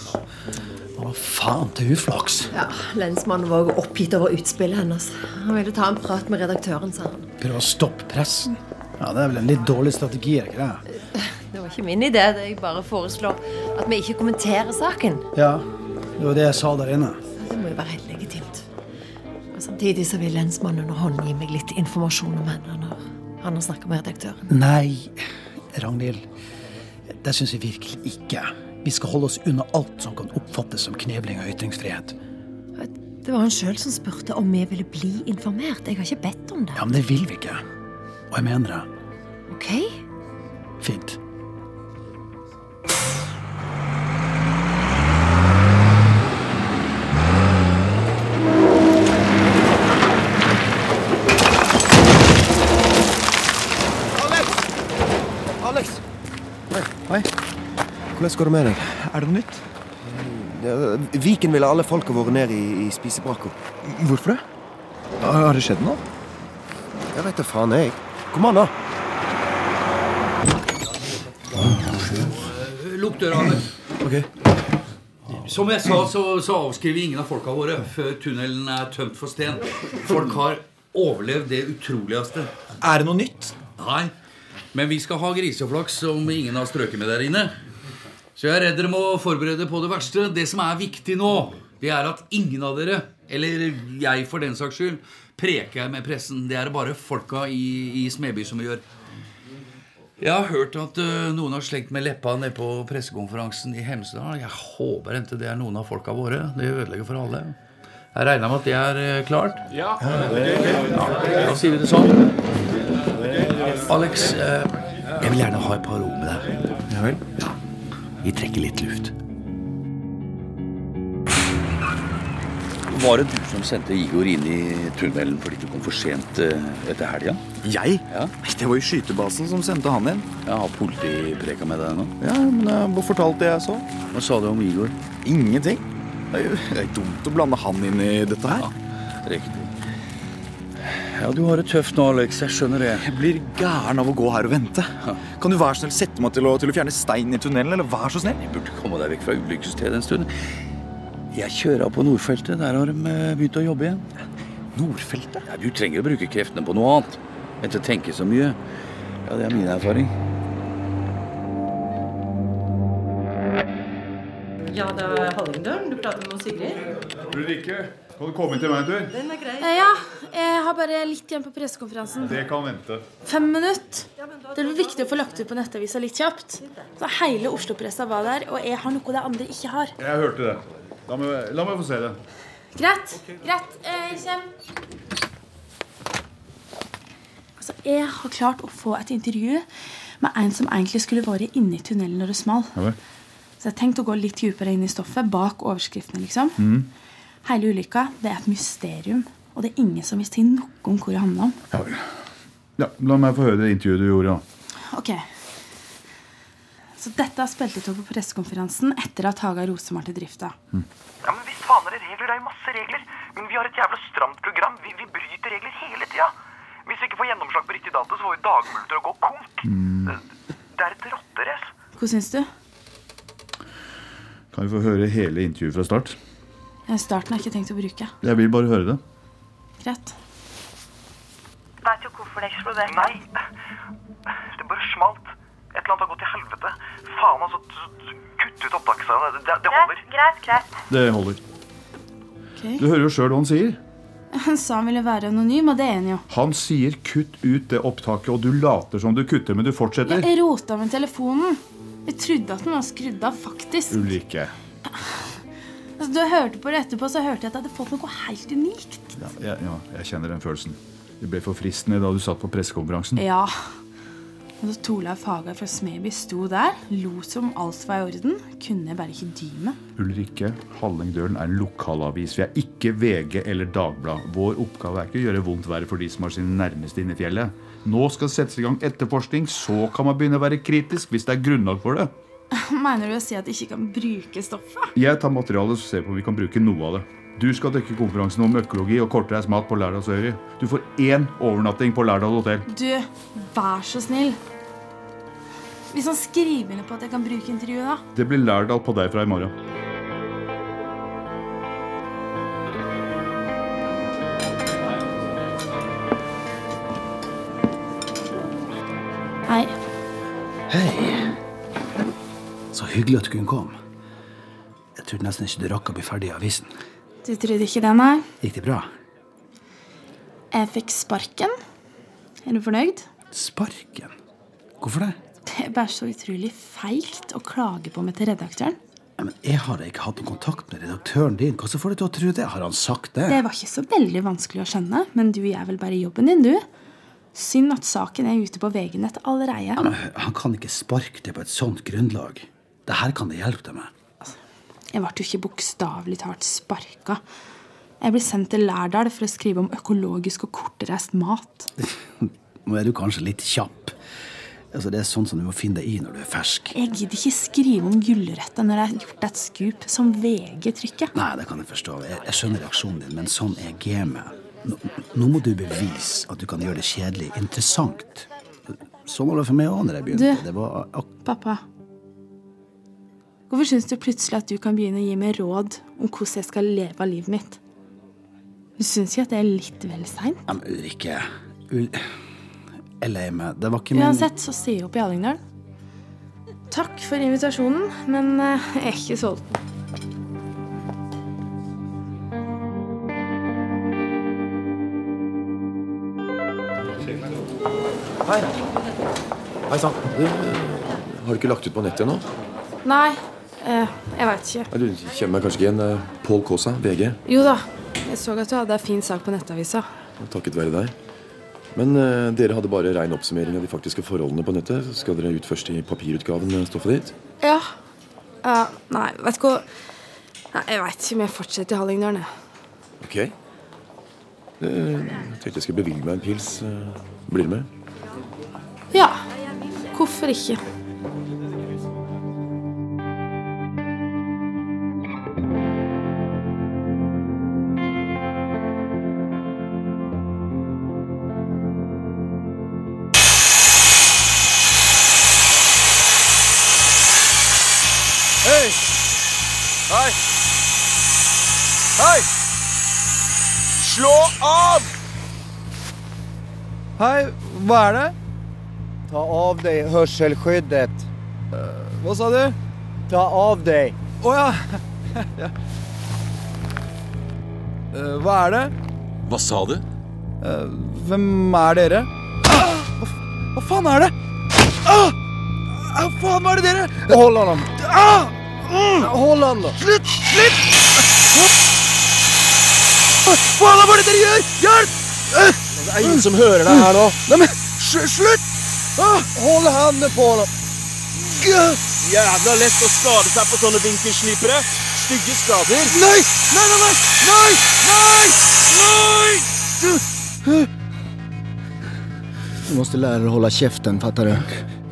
[SPEAKER 15] Hva faen til uflaks?
[SPEAKER 22] Ja, Lensmannen var også oppgitt over utspillet hennes. Han ville ta en prat med redaktøren, sa han.
[SPEAKER 15] Prøve å stoppe pressen? Ja, Det er vel en litt dårlig strategi, er det ikke det?
[SPEAKER 22] Det var ikke min idé. det Jeg bare foreslår at vi ikke kommenterer saken.
[SPEAKER 15] Ja, det var det jeg sa der inne.
[SPEAKER 22] Det må jo være helt legitimt. Og Samtidig så vil lensmannen under hånden gi meg litt informasjon om henne når han har snakket med redaktøren.
[SPEAKER 15] Nei, Ragnhild. Det syns jeg virkelig ikke. Vi skal holde oss unna alt som kan oppfattes som knebling av ytringsfrihet.
[SPEAKER 22] Det var han sjøl som spurte om vi ville bli informert. Jeg har ikke bedt om det.
[SPEAKER 15] Ja, Men det vil vi ikke. Og jeg mener det.
[SPEAKER 22] Ok?
[SPEAKER 15] Fint.
[SPEAKER 3] Alex!
[SPEAKER 27] Hei. Hvordan går det med deg?
[SPEAKER 3] Er det noe nytt?
[SPEAKER 27] Ja, Viken ville alle folka våre ned i, i spisebrakka.
[SPEAKER 3] Hvorfor det?
[SPEAKER 27] Har har det skjedd noe? Jeg veit da faen, jeg. Kom an, da.
[SPEAKER 6] Lukk døra, Anders.
[SPEAKER 27] Ok.
[SPEAKER 6] Som jeg sa, så, så avskriver ingen av folka våre før tunnelen er tømt for sten. Folk har overlevd det utroligste.
[SPEAKER 3] Er det noe nytt?
[SPEAKER 6] Nei. Men vi skal ha griseflaks om ingen har strøket med der inne. Så jeg er redd dere må forberede på det verste. Det som er viktig nå, det er at ingen av dere, eller jeg for den saks skyld, preker med pressen. Det er det bare folka i, i Smeby som gjør. Jeg har hørt at ø, noen har slengt med leppa ned på pressekonferansen i Hemsedal. Jeg håper ikke det er noen av folka våre. Det ødelegger for alle. Jeg regner med at det er ø, klart. Ja. Da sier vi det sånn. Alex, ø, jeg vil gjerne ha et par ord med deg. Ja vel? Vi trekker litt luft.
[SPEAKER 28] Var det du som sendte Igor inn i tunnelen fordi du kom for sent eh, etter helga?
[SPEAKER 3] Jeg? Det var jo skytebasen som sendte han inn.
[SPEAKER 28] Ja, Har politiet preka med deg nå?
[SPEAKER 3] Ja, men jeg bare fortalte det jeg så.
[SPEAKER 28] Hva sa du om Igor?
[SPEAKER 3] Ingenting. Det er jo det er dumt å blande han inn i dette her.
[SPEAKER 28] Riktig. Ja, Du har det tøft nå, Alex. Jeg skjønner det.
[SPEAKER 3] Jeg blir gæren av å gå her og vente. Kan du være snill sette meg til å, til å fjerne steinen i tunnelen? eller vær så snill?
[SPEAKER 28] Jeg burde komme deg vekk fra ulykkesstedet en stund. Jeg kjører av på Nordfeltet. Der har de eh, begynt å jobbe igjen.
[SPEAKER 3] Nordfeltet?
[SPEAKER 28] Ja, du trenger å bruke kreftene på noe annet. Enn til å tenke så mye. Ja, Det er min
[SPEAKER 3] [LAUGHS]
[SPEAKER 28] erfaring.
[SPEAKER 24] Ja, det er Hallingdølen. Du prater med Sigrid?
[SPEAKER 4] Ulrikke, kan du komme inn til meg en tur?
[SPEAKER 24] Den er grei.
[SPEAKER 19] Eh, Ja, jeg har bare litt igjen på pressekonferansen.
[SPEAKER 4] Det kan vente.
[SPEAKER 19] Fem minutter. Det blir viktig å få lagt ut på nettavisa litt kjapt. Så Hele Oslo-pressa var der, og jeg har noe de andre ikke har.
[SPEAKER 4] Jeg hørte det. La meg, la meg få se det.
[SPEAKER 19] Greit. greit, eh, Jeg kommer. Altså, jeg har klart å få et intervju med en som egentlig skulle vært inne i tunnelen når det smal. Så jeg tenkte å gå litt dypere inn i stoffet, bak overskriftene, liksom.
[SPEAKER 14] Mm.
[SPEAKER 19] Hele ulykka det er et mysterium, og det er ingen som vil si noe om hvor det handler om.
[SPEAKER 4] Ja vel. Ja, la meg få høre det intervjuet du gjorde, da.
[SPEAKER 19] Ok. Så dette spilte jeg av på pressekonferansen etter at Haga Rosemar til drifta.
[SPEAKER 18] Ja, men visst faen er det regler, det er jo masse regler. Men vi har et jævla stramt program. Vi, vi bryter regler hele tida. Hvis vi ikke får gjennomslag på riktig dato, så får vi dagmulter og gå konk.
[SPEAKER 4] Mm.
[SPEAKER 18] Det er et rotterace.
[SPEAKER 19] Hva syns du?
[SPEAKER 4] Kan vi få høre hele intervjuet fra start?
[SPEAKER 19] Den starten har jeg ikke tenkt å bruke.
[SPEAKER 4] Jeg vil bare høre det.
[SPEAKER 19] Greit.
[SPEAKER 18] Veit du hvorfor det eksploderte? Nei, det bare smalt. Et eller annet har gått til helvete. Faen, altså. t- t- Kutt ut opptakene. Det, det holder. Greit, greit.
[SPEAKER 4] Det holder.
[SPEAKER 19] Ok.
[SPEAKER 4] Du hører jo sjøl hva han sier.
[SPEAKER 19] Han sa han ville være anonym, og det er han jo.
[SPEAKER 4] Han sier 'kutt ut det opptaket', og du later som du kutter, men du fortsetter.
[SPEAKER 19] Jeg rota med telefonen. Jeg trodde at den var skrudd av, faktisk.
[SPEAKER 4] Ulrikke.
[SPEAKER 19] Altså, da jeg hørte på det etterpå, så hørte jeg at jeg hadde fått noe helt unikt.
[SPEAKER 4] Ja, Mm. jeg, ja, jeg kjenner den følelsen. Du ble for fristende da du satt på pressekonferansen.
[SPEAKER 19] Ja. Men da Torleif Haga Altså, fra Smeby sto der, lo som alt var i orden, kunne jeg bare ikke dy meg. [LAUGHS]
[SPEAKER 4] Ulrikke, Hallingdølen er en lokalavis. Vi er ikke VG eller Dagblad. Vår oppgave er ikke å gjøre vondt verre for de som har sine nærmeste inne i fjellet. Nå skal det settes i gang etterforskning, så kan man begynne å være kritisk hvis det er grunnlag for det.
[SPEAKER 19] Mener du å si at jeg ikke kan bruke stoffet?
[SPEAKER 4] Jeg tar materialet og ser på om vi kan bruke noe av det. Du skal dekke konferansen om økologi og kortreist mat på Lærdalsøyri. Du får én overnatting på Lærdal hotell.
[SPEAKER 19] Du, vær så snill. Hvis han skriver under på at jeg kan bruke intervjuet, da?
[SPEAKER 4] Det blir Lærdal på deg fra i morgen.
[SPEAKER 19] Hei.
[SPEAKER 15] Hei. Så hyggelig at du kunne komme. Jeg trodde nesten ikke du rakk å bli ferdig i avisen.
[SPEAKER 19] Du trodde ikke det, nei?
[SPEAKER 15] Gikk det bra?
[SPEAKER 19] Jeg fikk sparken. Er du fornøyd?
[SPEAKER 15] Sparken? Hvorfor det?
[SPEAKER 19] Det er bare så utrolig feigt å klage på meg til redaktøren.
[SPEAKER 15] Nei, men Jeg har da ikke hatt noen kontakt med redaktøren din. Hvordan får du til å tro det? Har han sagt det?
[SPEAKER 19] Det var ikke så veldig vanskelig å skjønne, men du gjør vel bare jobben din, du. Synd at saken er ute på VG-nett
[SPEAKER 15] Ja, men
[SPEAKER 19] allereie.
[SPEAKER 15] Han kan ikke sparke det på et sånt grunnlag. Det her kan det hjelpe deg med.
[SPEAKER 19] Jeg ble jo ikke bokstavelig talt sparka. Jeg ble sendt til Lærdal for å skrive om økologisk og kortreist mat.
[SPEAKER 15] Nå er du kanskje litt kjapp. Altså, det er sånn som du må finne deg i når du er fersk.
[SPEAKER 19] Jeg gidder ikke skrive om gulrøtter når jeg har gjort et skup som VG trykker.
[SPEAKER 15] Nei, det kan jeg forstå. Jeg, jeg skjønner reaksjonen din, men sånn er gamet. Nå, nå må du bevise at du kan gjøre det kjedelig interessant. Sånn var det for meg òg når jeg begynte.
[SPEAKER 19] Du-
[SPEAKER 15] Det var ak
[SPEAKER 19] Pappa, hvorfor syns du plutselig at du kan begynne å gi meg råd om hvordan jeg skal leve av livet mitt? Du syns ikke at det er litt vel seint?
[SPEAKER 15] Nei, men Ulrikke Ul Jeg er lei meg. Det var ikke min
[SPEAKER 19] Uansett så sier jeg opp i Hallingdal. Takk for invitasjonen, men eh, jeg er ikke solgt.
[SPEAKER 29] Hei. Hei sann. Du, eh, Har du ikke lagt ut på nettet ennå?
[SPEAKER 19] Nei, eh, jeg veit ikke.
[SPEAKER 17] Ja, Du kjenner meg kanskje ikke igjen. eh, Pål Kaasa, VG.
[SPEAKER 19] Jo da, jeg så at du hadde ei fin sak på Nettavisa.
[SPEAKER 17] Takket være deg. Men eh, dere hadde bare rein oppsummering av de faktiske forholdene på nettet. Skal dere ut først i papirutgaven med stoffet ditt?
[SPEAKER 19] Ja. ja nei, vet du hva Nei, Jeg veit ikke om jeg fortsetter i Hallingdal, jeg.
[SPEAKER 17] Ok. Eh, Jeg tenkte jeg skulle bevilge meg en pils. eh, Blir du med?
[SPEAKER 19] Ja. Hvorfor ikke?
[SPEAKER 1] Hei! Hei! Hei! Slå av!
[SPEAKER 3] Hei, hva er det? Ta av deg hørselskyddet. hva sa du? Ta av deg. Å ja. [LAUGHS] ja. Eh, hva er det?
[SPEAKER 9] Hva sa du?
[SPEAKER 3] Eh, hvem er dere? Ah! Hva, f- hva faen er det? Ah! Ah, faen, hva er det dere? Hold an, da. Ah! Mm! Hold an, da. Slutt! Slutt! Hva faen hva er det dere gjør? Hjelp! Det er ingen som hører deg her nå. Nei, men sl- slutt! Ah, Hold hendene på ham.
[SPEAKER 1] Jævla lett å skade seg på sånne vinkelslipere. Stygge skader.
[SPEAKER 3] Nei! Nei, nei, nei! Nei! Nei! Nei!
[SPEAKER 30] Du måste lära dig hålla käften, fattar du?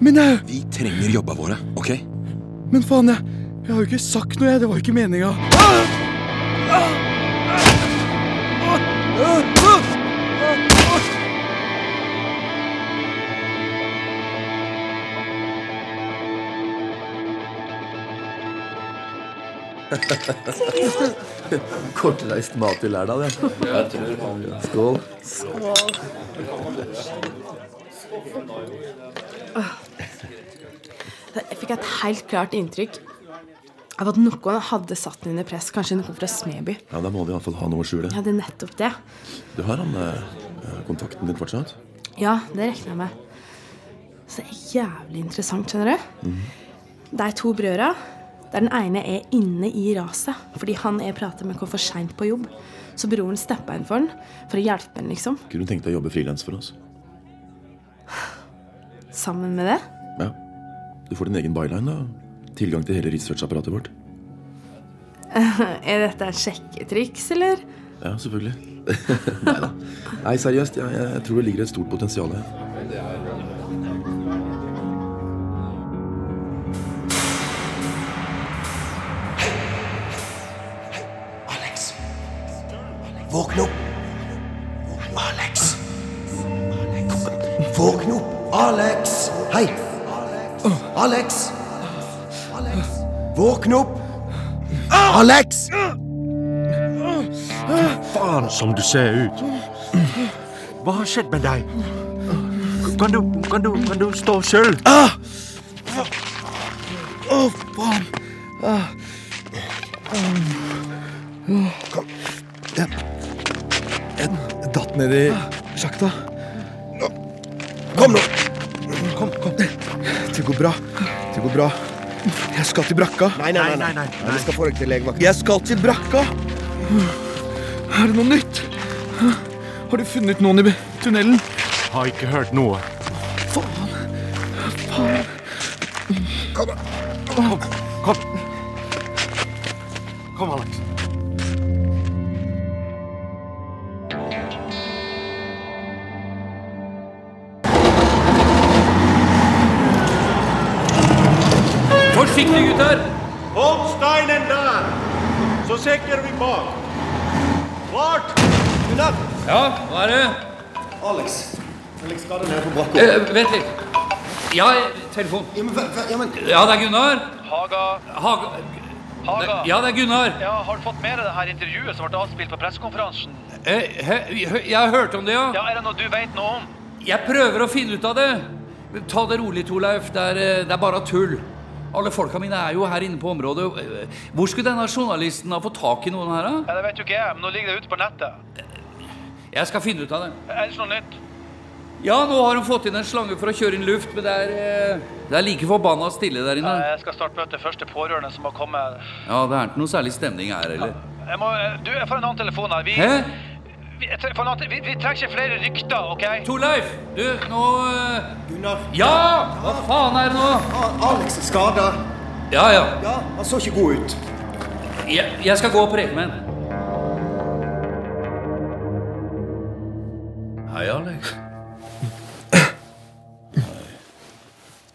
[SPEAKER 3] Men jeg,
[SPEAKER 9] Vi trenger jobba våre, ok?
[SPEAKER 3] men faen, jeg, jeg har jo ikke sagt noe, jeg. Det var ikke meninga. Ah,
[SPEAKER 17] Kortreist mat i Lærdal, ja. Skål.
[SPEAKER 19] Jeg fikk et helt klart inntrykk av at noen hadde satt den under press. Kanskje noen fra Smeby.
[SPEAKER 17] Ja, Da må vi iallfall ha noe å skjule.
[SPEAKER 19] Ja, det er nettopp det.
[SPEAKER 17] Du har han eh, kontakten din fortsatt?
[SPEAKER 19] Ja, det regner jeg med. Så det er jævlig interessant, skjønner du. Det er to brødre. Der den ene er inne i raset fordi han jeg prater med, kom for seint på jobb. Så broren steppa inn for han for å hjelpe han, liksom.
[SPEAKER 17] Kunne du tenkt deg å jobbe frilans for oss?
[SPEAKER 10] sammen
[SPEAKER 19] [LAUGHS]
[SPEAKER 10] med det?
[SPEAKER 7] Ja. Du får din egen byline, da. Tilgang til hele researchapparatet vårt.
[SPEAKER 10] er dette et sjekketriks, eller?
[SPEAKER 7] Ja, selvfølgelig. [LAUGHS] Nei da. Nei, seriøst. Jeg, jeg tror det ligger et stort potensial her.
[SPEAKER 1] Alex. Våkn opp. Alex. Våkn opp, Alex. Hei. Alex. Våkn opp. Alex!
[SPEAKER 16] Fy faen som du ser ut. Hva har skjedd med deg? Kan du, kan du, kan du stå selv?
[SPEAKER 1] Å, faen. Ah. Mm. Kom. Jeg, jeg datt ned i sjakta. Nå. Kom nå! Kom, kom. Det går bra. Det går bra. Jeg skal til brakka. Nei, nei, nei. nei, Du skal få deg til legevakt. Jeg skal til brakka! Er det noe nytt? Har du funnet noen i tunnelen?
[SPEAKER 16] Har ikke hørt noe.
[SPEAKER 1] Faen. Kom, da. Kom. Kom.
[SPEAKER 16] Kom, Alex.
[SPEAKER 1] Forsiktig, gutter!
[SPEAKER 16] Hold steinen der, så sikrer vi bak. Klart!
[SPEAKER 6] Ja, hva er det?
[SPEAKER 1] Alex. Alex skal ned på brakka.
[SPEAKER 6] Eh, vent litt. Ja, telefon. Ja, det er Gunnar.
[SPEAKER 9] Haga.
[SPEAKER 6] Haga. Ja, det er Gunnar.
[SPEAKER 9] Ja, Har du fått med deg det altså, her intervjuet som ble avspilt på pressekonferansen?
[SPEAKER 6] Eh, hø, hø, jeg har hørt om det, ja.
[SPEAKER 9] Ja, Er det noe du vet noe om?
[SPEAKER 6] Jeg prøver å finne ut av det. Men Ta det rolig, Torleif. Det er, eh, det er bare tull. Alle folka mine er jo her inne på området. Eh, Hvor skulle denne journalisten ha fått tak i noen her, da?
[SPEAKER 9] Ja, Det vet jo ikke jeg, men nå ligger det ute på nettet.
[SPEAKER 6] Jeg skal finne ut av det.
[SPEAKER 9] Ellers noe nytt?
[SPEAKER 6] Ja, nå har hun fått inn en slange for å kjøre inn luft, men det er, eh, det er like forbanna stille der
[SPEAKER 9] Ja,
[SPEAKER 6] inne.
[SPEAKER 9] jeg skal snart møte første pårørende som har kommet.
[SPEAKER 6] Ja, det er ikke noe særlig stemning her heller.
[SPEAKER 9] eh, Jeg må, eh, du, jeg får en annen telefon her. Vi,
[SPEAKER 6] Hæ?
[SPEAKER 9] vi, jeg tre- får en annen, vi, vi trenger ikke flere rykter, OK?
[SPEAKER 6] Torleif, du, nå eh,
[SPEAKER 9] Gunnar.
[SPEAKER 6] Ja! Hva faen er det nå?
[SPEAKER 1] Alex er skada.
[SPEAKER 6] Ja, ja.
[SPEAKER 1] Ja, han så ikke god ut.
[SPEAKER 6] Jeg, jeg skal gå og preke med henne.
[SPEAKER 28] Hei, Alex.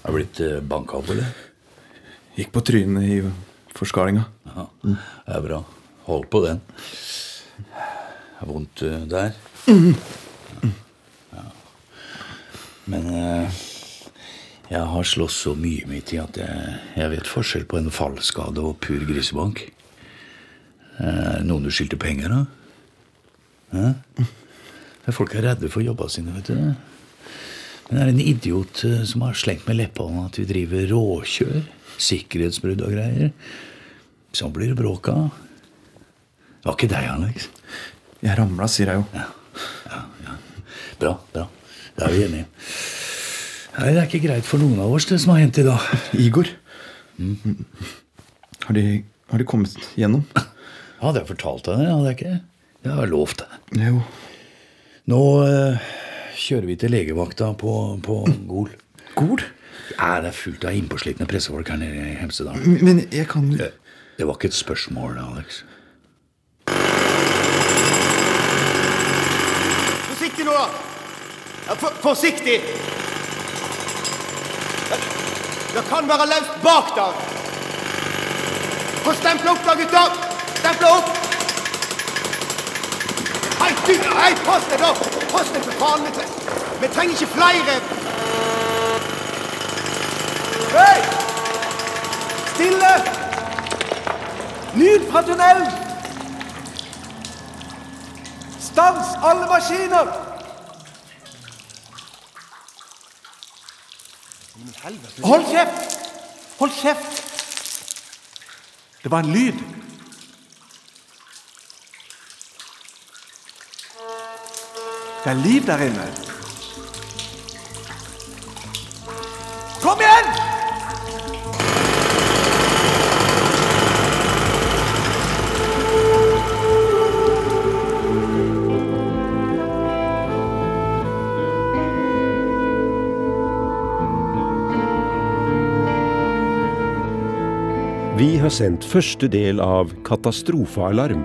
[SPEAKER 28] Har du blitt banka opp, eller?
[SPEAKER 7] Gikk på trynet i forskalinga.
[SPEAKER 28] Ja, det er bra. Hold på den. Det er vondt eh, der. Ja. Men eh, jeg har slåss så mye mitt i at jeg, jeg vet forskjell på en fallskade og pur grisebank. Eh, Noen du skyldte penger av? Hæ? Men Folk er redde for jobba sine, vet du. Men er det en idiot eh, som har slengt med leppa om at vi driver råkjør? Sikkerhetsbrudd og greier? Sånn blir det bråk av. Det var ikke deg, Alex.
[SPEAKER 7] Jeg ramla, sier jeg jo.
[SPEAKER 28] Bra, bra. Da er vi enige. Nei, det er ikke greit for noen av oss, det som har hendt i dag. Mm.
[SPEAKER 7] Igor? Har de, har de kommet gjennom?
[SPEAKER 28] Hadde jeg fortalt deg det, hadde jeg ikke? Det har jeg lovt deg.
[SPEAKER 7] Jo.
[SPEAKER 28] Nå eh, kjører vi til legevakta på, på Gol. Gol? Ja, det er fullt av innpåslitne pressefolk her nede i Hemsedal.
[SPEAKER 7] Men jeg kan
[SPEAKER 28] Det, det var ikke et spørsmål, Alex.
[SPEAKER 1] Forsiktig nå, da! Ja, for, forsiktig! Det kan være løst bak der! Få stemple opp da, gutter! Stemple opp! Hei, du! Hei, pass deg, da! Pass deg, for faen! Vi, tre vi trenger ikke flere! Hei! Stille! Lyd fra tunnelen! Stans alle maskiner! Hold kjeft! Hold kjeft!
[SPEAKER 16] Det var en lyd. Det er liv der inne.
[SPEAKER 1] Kom igjen!
[SPEAKER 5] har sendt første del av Katastrofealarm.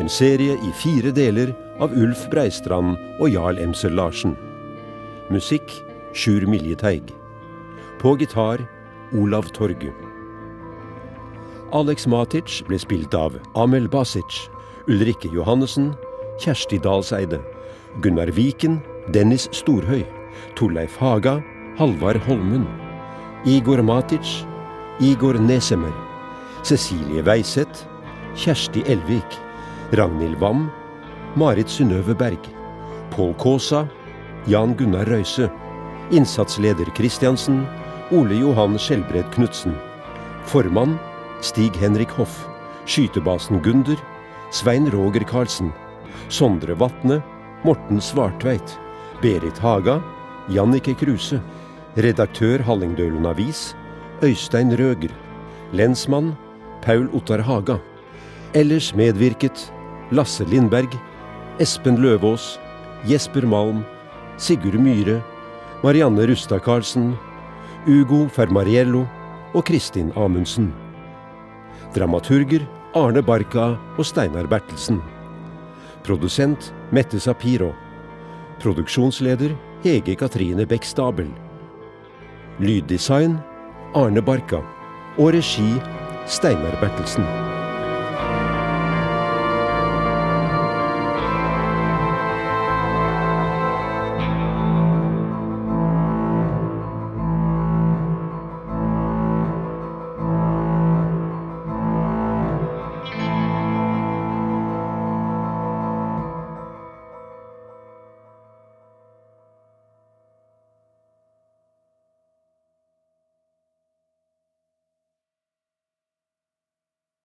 [SPEAKER 5] En serie i fire deler av Ulf Breistrand og Jarl Emsel Larsen. Musikk Sjur Miljeteig. På gitar Olav Torgu. Alex Matic ble spilt av Amel Basic, Ulrikke Johannessen, Kjersti Dalseide, Gunnar Viken, Dennis Storhøy, Torleif Haga, Halvard Holmen, Igor Matic, Igor Nesemer, Cecilie Weiseth, Kjersti Elvik, Ragnhild Wam, Marit Synnøve Berg, Pål Kaasa, Jan Gunnar Røise, innsatsleder Christiansen, Ole Johan Skjelbred Knutsen, formann Stig Henrik Hoff, skytebasen Gunder, Svein Roger Karlsen, Sondre Vatne, Morten Svartveit, Berit Haga, Jannike Kruse, redaktør Hallingdølen Avis, Øystein Røger, lensmann Paul Ottar Haga. Ellers medvirket Lasse Lindberg, Espen Løvaas, Jesper Malm, Sigurd Myhre, Marianne Rustad Karlsen, Ugo Fermariello og Kristin Amundsen. Dramaturger Arne Barka og Steinar Bertelsen. Produsent Mette Sapiro. Produksjonsleder Hege Katrine Bekstabel. Lyddesign Arne Barka. Og regi Steinar Bertelsen.